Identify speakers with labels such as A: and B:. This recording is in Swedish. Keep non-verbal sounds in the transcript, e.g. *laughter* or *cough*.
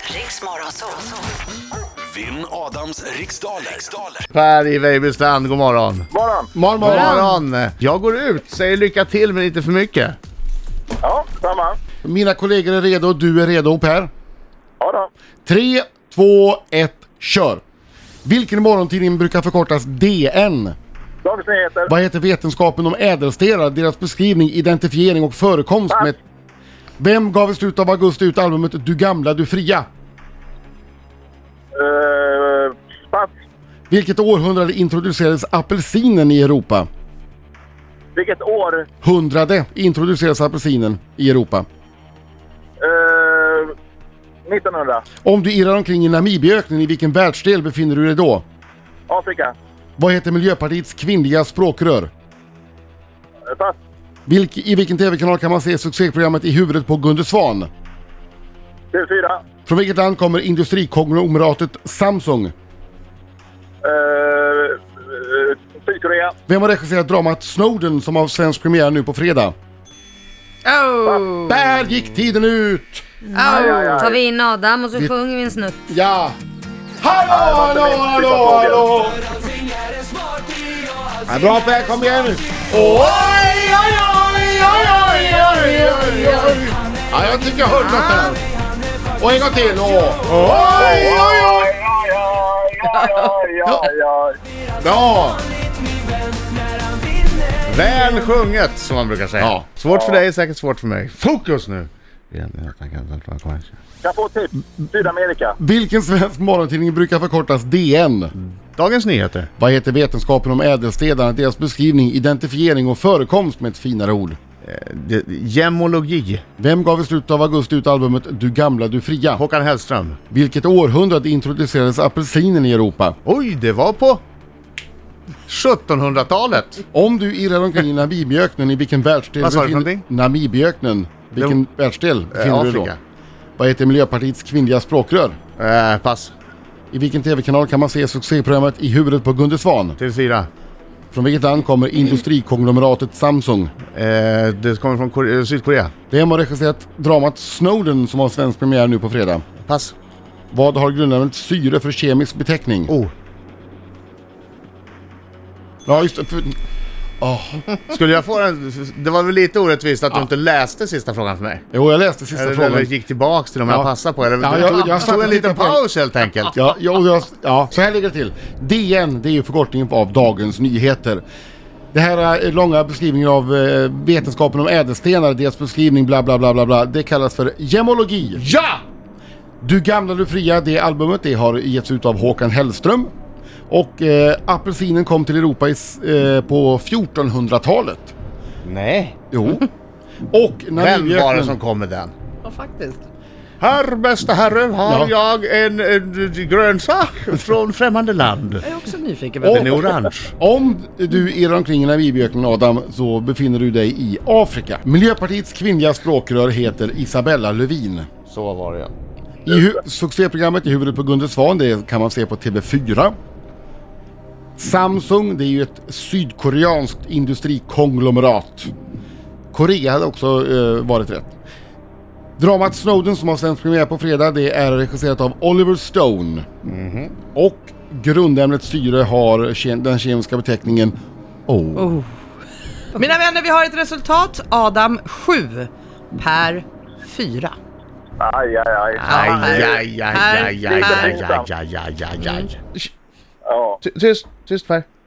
A: Riks Morgonzoo.
B: Vinn Adams riksdaler. riksdaler.
C: Per i Vejbystrand, god morgon.
D: Morgon!
C: Morgon, morgon. Jag går ut, säger lycka till men inte för mycket.
D: Ja, samma.
E: Mina kollegor är redo, du är redo Per.
D: Ja då.
E: 3, 2, 1, kör! Vilken morgontidning brukar förkortas DN?
D: Dagens Nyheter.
E: Vad heter vetenskapen om ädelstenar, deras beskrivning, identifiering och förekomst med... Vem gav i slutet av augusti ut albumet Du gamla, du fria?
D: Eh, pass.
E: Vilket århundrade introducerades apelsinen i Europa?
D: Vilket år?
E: Hundrade introducerades apelsinen i Europa.
D: Eh, 1900.
E: Om du irrar omkring i Namibiaöknen, i vilken världsdel befinner du dig då?
D: Afrika.
E: Vad heter Miljöpartiets kvinnliga språkrör?
D: Eh, Pass.
E: Vilk, I vilken TV-kanal kan man se succéprogrammet I huvudet på Gunde Svan?
D: TV4.
E: Från vilket land kommer industrikonglomeratet Samsung?
D: Eh, eh,
C: *laughs*
D: Sydkorea.
E: Vem har regisserat dramat Snowden som har svensk premiär nu på fredag?
F: Oh.
E: Där gick tiden ut!
F: Oh. Tar vi in Adam och så sjunger vi en snutt.
E: Ja! Hallå, hallå, hallå, hallå! Ja, bra Per, kom igen nu! Oj, oj, oj, oj, oj, oj, oj, oj! Ja, jag tycker jag hörde något där. Och en gång till. Och, oj, oj, oj!
D: Oj, oj, oj, oj, oj.
E: Bra!
C: Väl sjunget som man brukar säga.
E: Ja.
C: Svårt för dig är säkert svårt för mig. Fokus nu!
D: Kan jag få ett tips? Sydamerika.
E: Vilken svensk morgontidning brukar förkortas DN?
C: Dagens Nyheter.
E: Vad heter vetenskapen om ädelstenarna, deras beskrivning, identifiering och förekomst med ett finare ord?
C: Det- Gemologi.
E: Vem gav i slutet av augusti ut albumet Du gamla, du fria?
C: Håkan Hellström.
E: Vilket århundrade introducerades apelsinen i Europa?
C: Oj, det var på 1700-talet.
E: Om du irrar omkring i Namibiöknen, i vilken världsdel...
C: Vad sa du för
E: befin-
C: någonting?
E: Namibiöknen. Vilken världsdel befinner
C: Eh,
E: du dig då?
C: Afrika.
E: Vad heter Miljöpartiets kvinnliga språkrör?
C: Eh, pass.
E: I vilken TV-kanal kan man se succéprogrammet I huvudet på Gunde Svan?
C: TV4.
E: Från vilket land kommer industrikonglomeratet Samsung?
C: Eh, det kommer från Kore- eh, Sydkorea.
E: Vem har regisserat dramat Snowden som har svensk premiär nu på fredag?
C: Pass.
E: Vad har grundämnet syre för kemisk beteckning?
C: Oh.
E: Ja, just det. För...
C: Skulle jag få den? Det var väl lite orättvist att du inte läste sista frågan för mig?
E: Jo, jag läste sista
C: Eller,
E: frågan.
C: eller gick tillbaks till dem jag
E: Ja.
C: passade på. Eller,
E: Ja,
C: du
E: jag-
C: tog,
E: jag
C: tog
E: satte
C: en
E: lite
C: liten
E: på-
C: paus helt enkelt.
E: Ja, ja, och jag, ja, så här ligger det till. DN, det är ju förkortningen av Dagens Nyheter. Det här eh, långa beskrivningen av eh, vetenskapen om ädelstenar, deras beskrivning bla bla bla bla bla, det kallas för gemologi.
C: Ja!
E: Du gamla, du fria, det albumet det har getts ut av Håkan Hellström. Och eh, apelsinen kom till Europa i, s- eh, på 1400-talet.
C: Nej. *laughs*
E: Jo. Och
C: Vem var det
E: Namibiaöknen-
C: som kom med den?
G: Ja, faktiskt.
C: Herr bästa herre, har
E: Ja.
C: jag en, en grönsak från främmande land.
G: Jag är också nyfiken.
C: Den är orange.
E: Om du irrar omkring i Namibiaöknen Adam så befinner du dig i Afrika. Miljöpartiets kvinnliga språkrör heter Isabella Lövin.
C: Så var det ja.
E: I hu- succéprogrammet I huvudet på Gunde Svan, det kan man se på TV4. Samsung, det är ju ett sydkoreanskt industrikonglomerat. Korea hade också eh, varit rätt. Dramat Snowden som har sänds premiär på fredag, det är regisserat av Oliver Stone. Och grundämnet syre har ke- den kemiska beteckningen O.
G: Mina vänner, vi har ett resultat. Adam 7, Per 4.
D: Aj, aj, aj.
G: Ja,
C: Aj,
G: Per-
C: aj, aj,
G: Per-
C: aj, aj, aj,
G: Per-
C: aj, aj, aj, aj, aj.
D: Ja.
C: Ty- Tyst, tyst Per.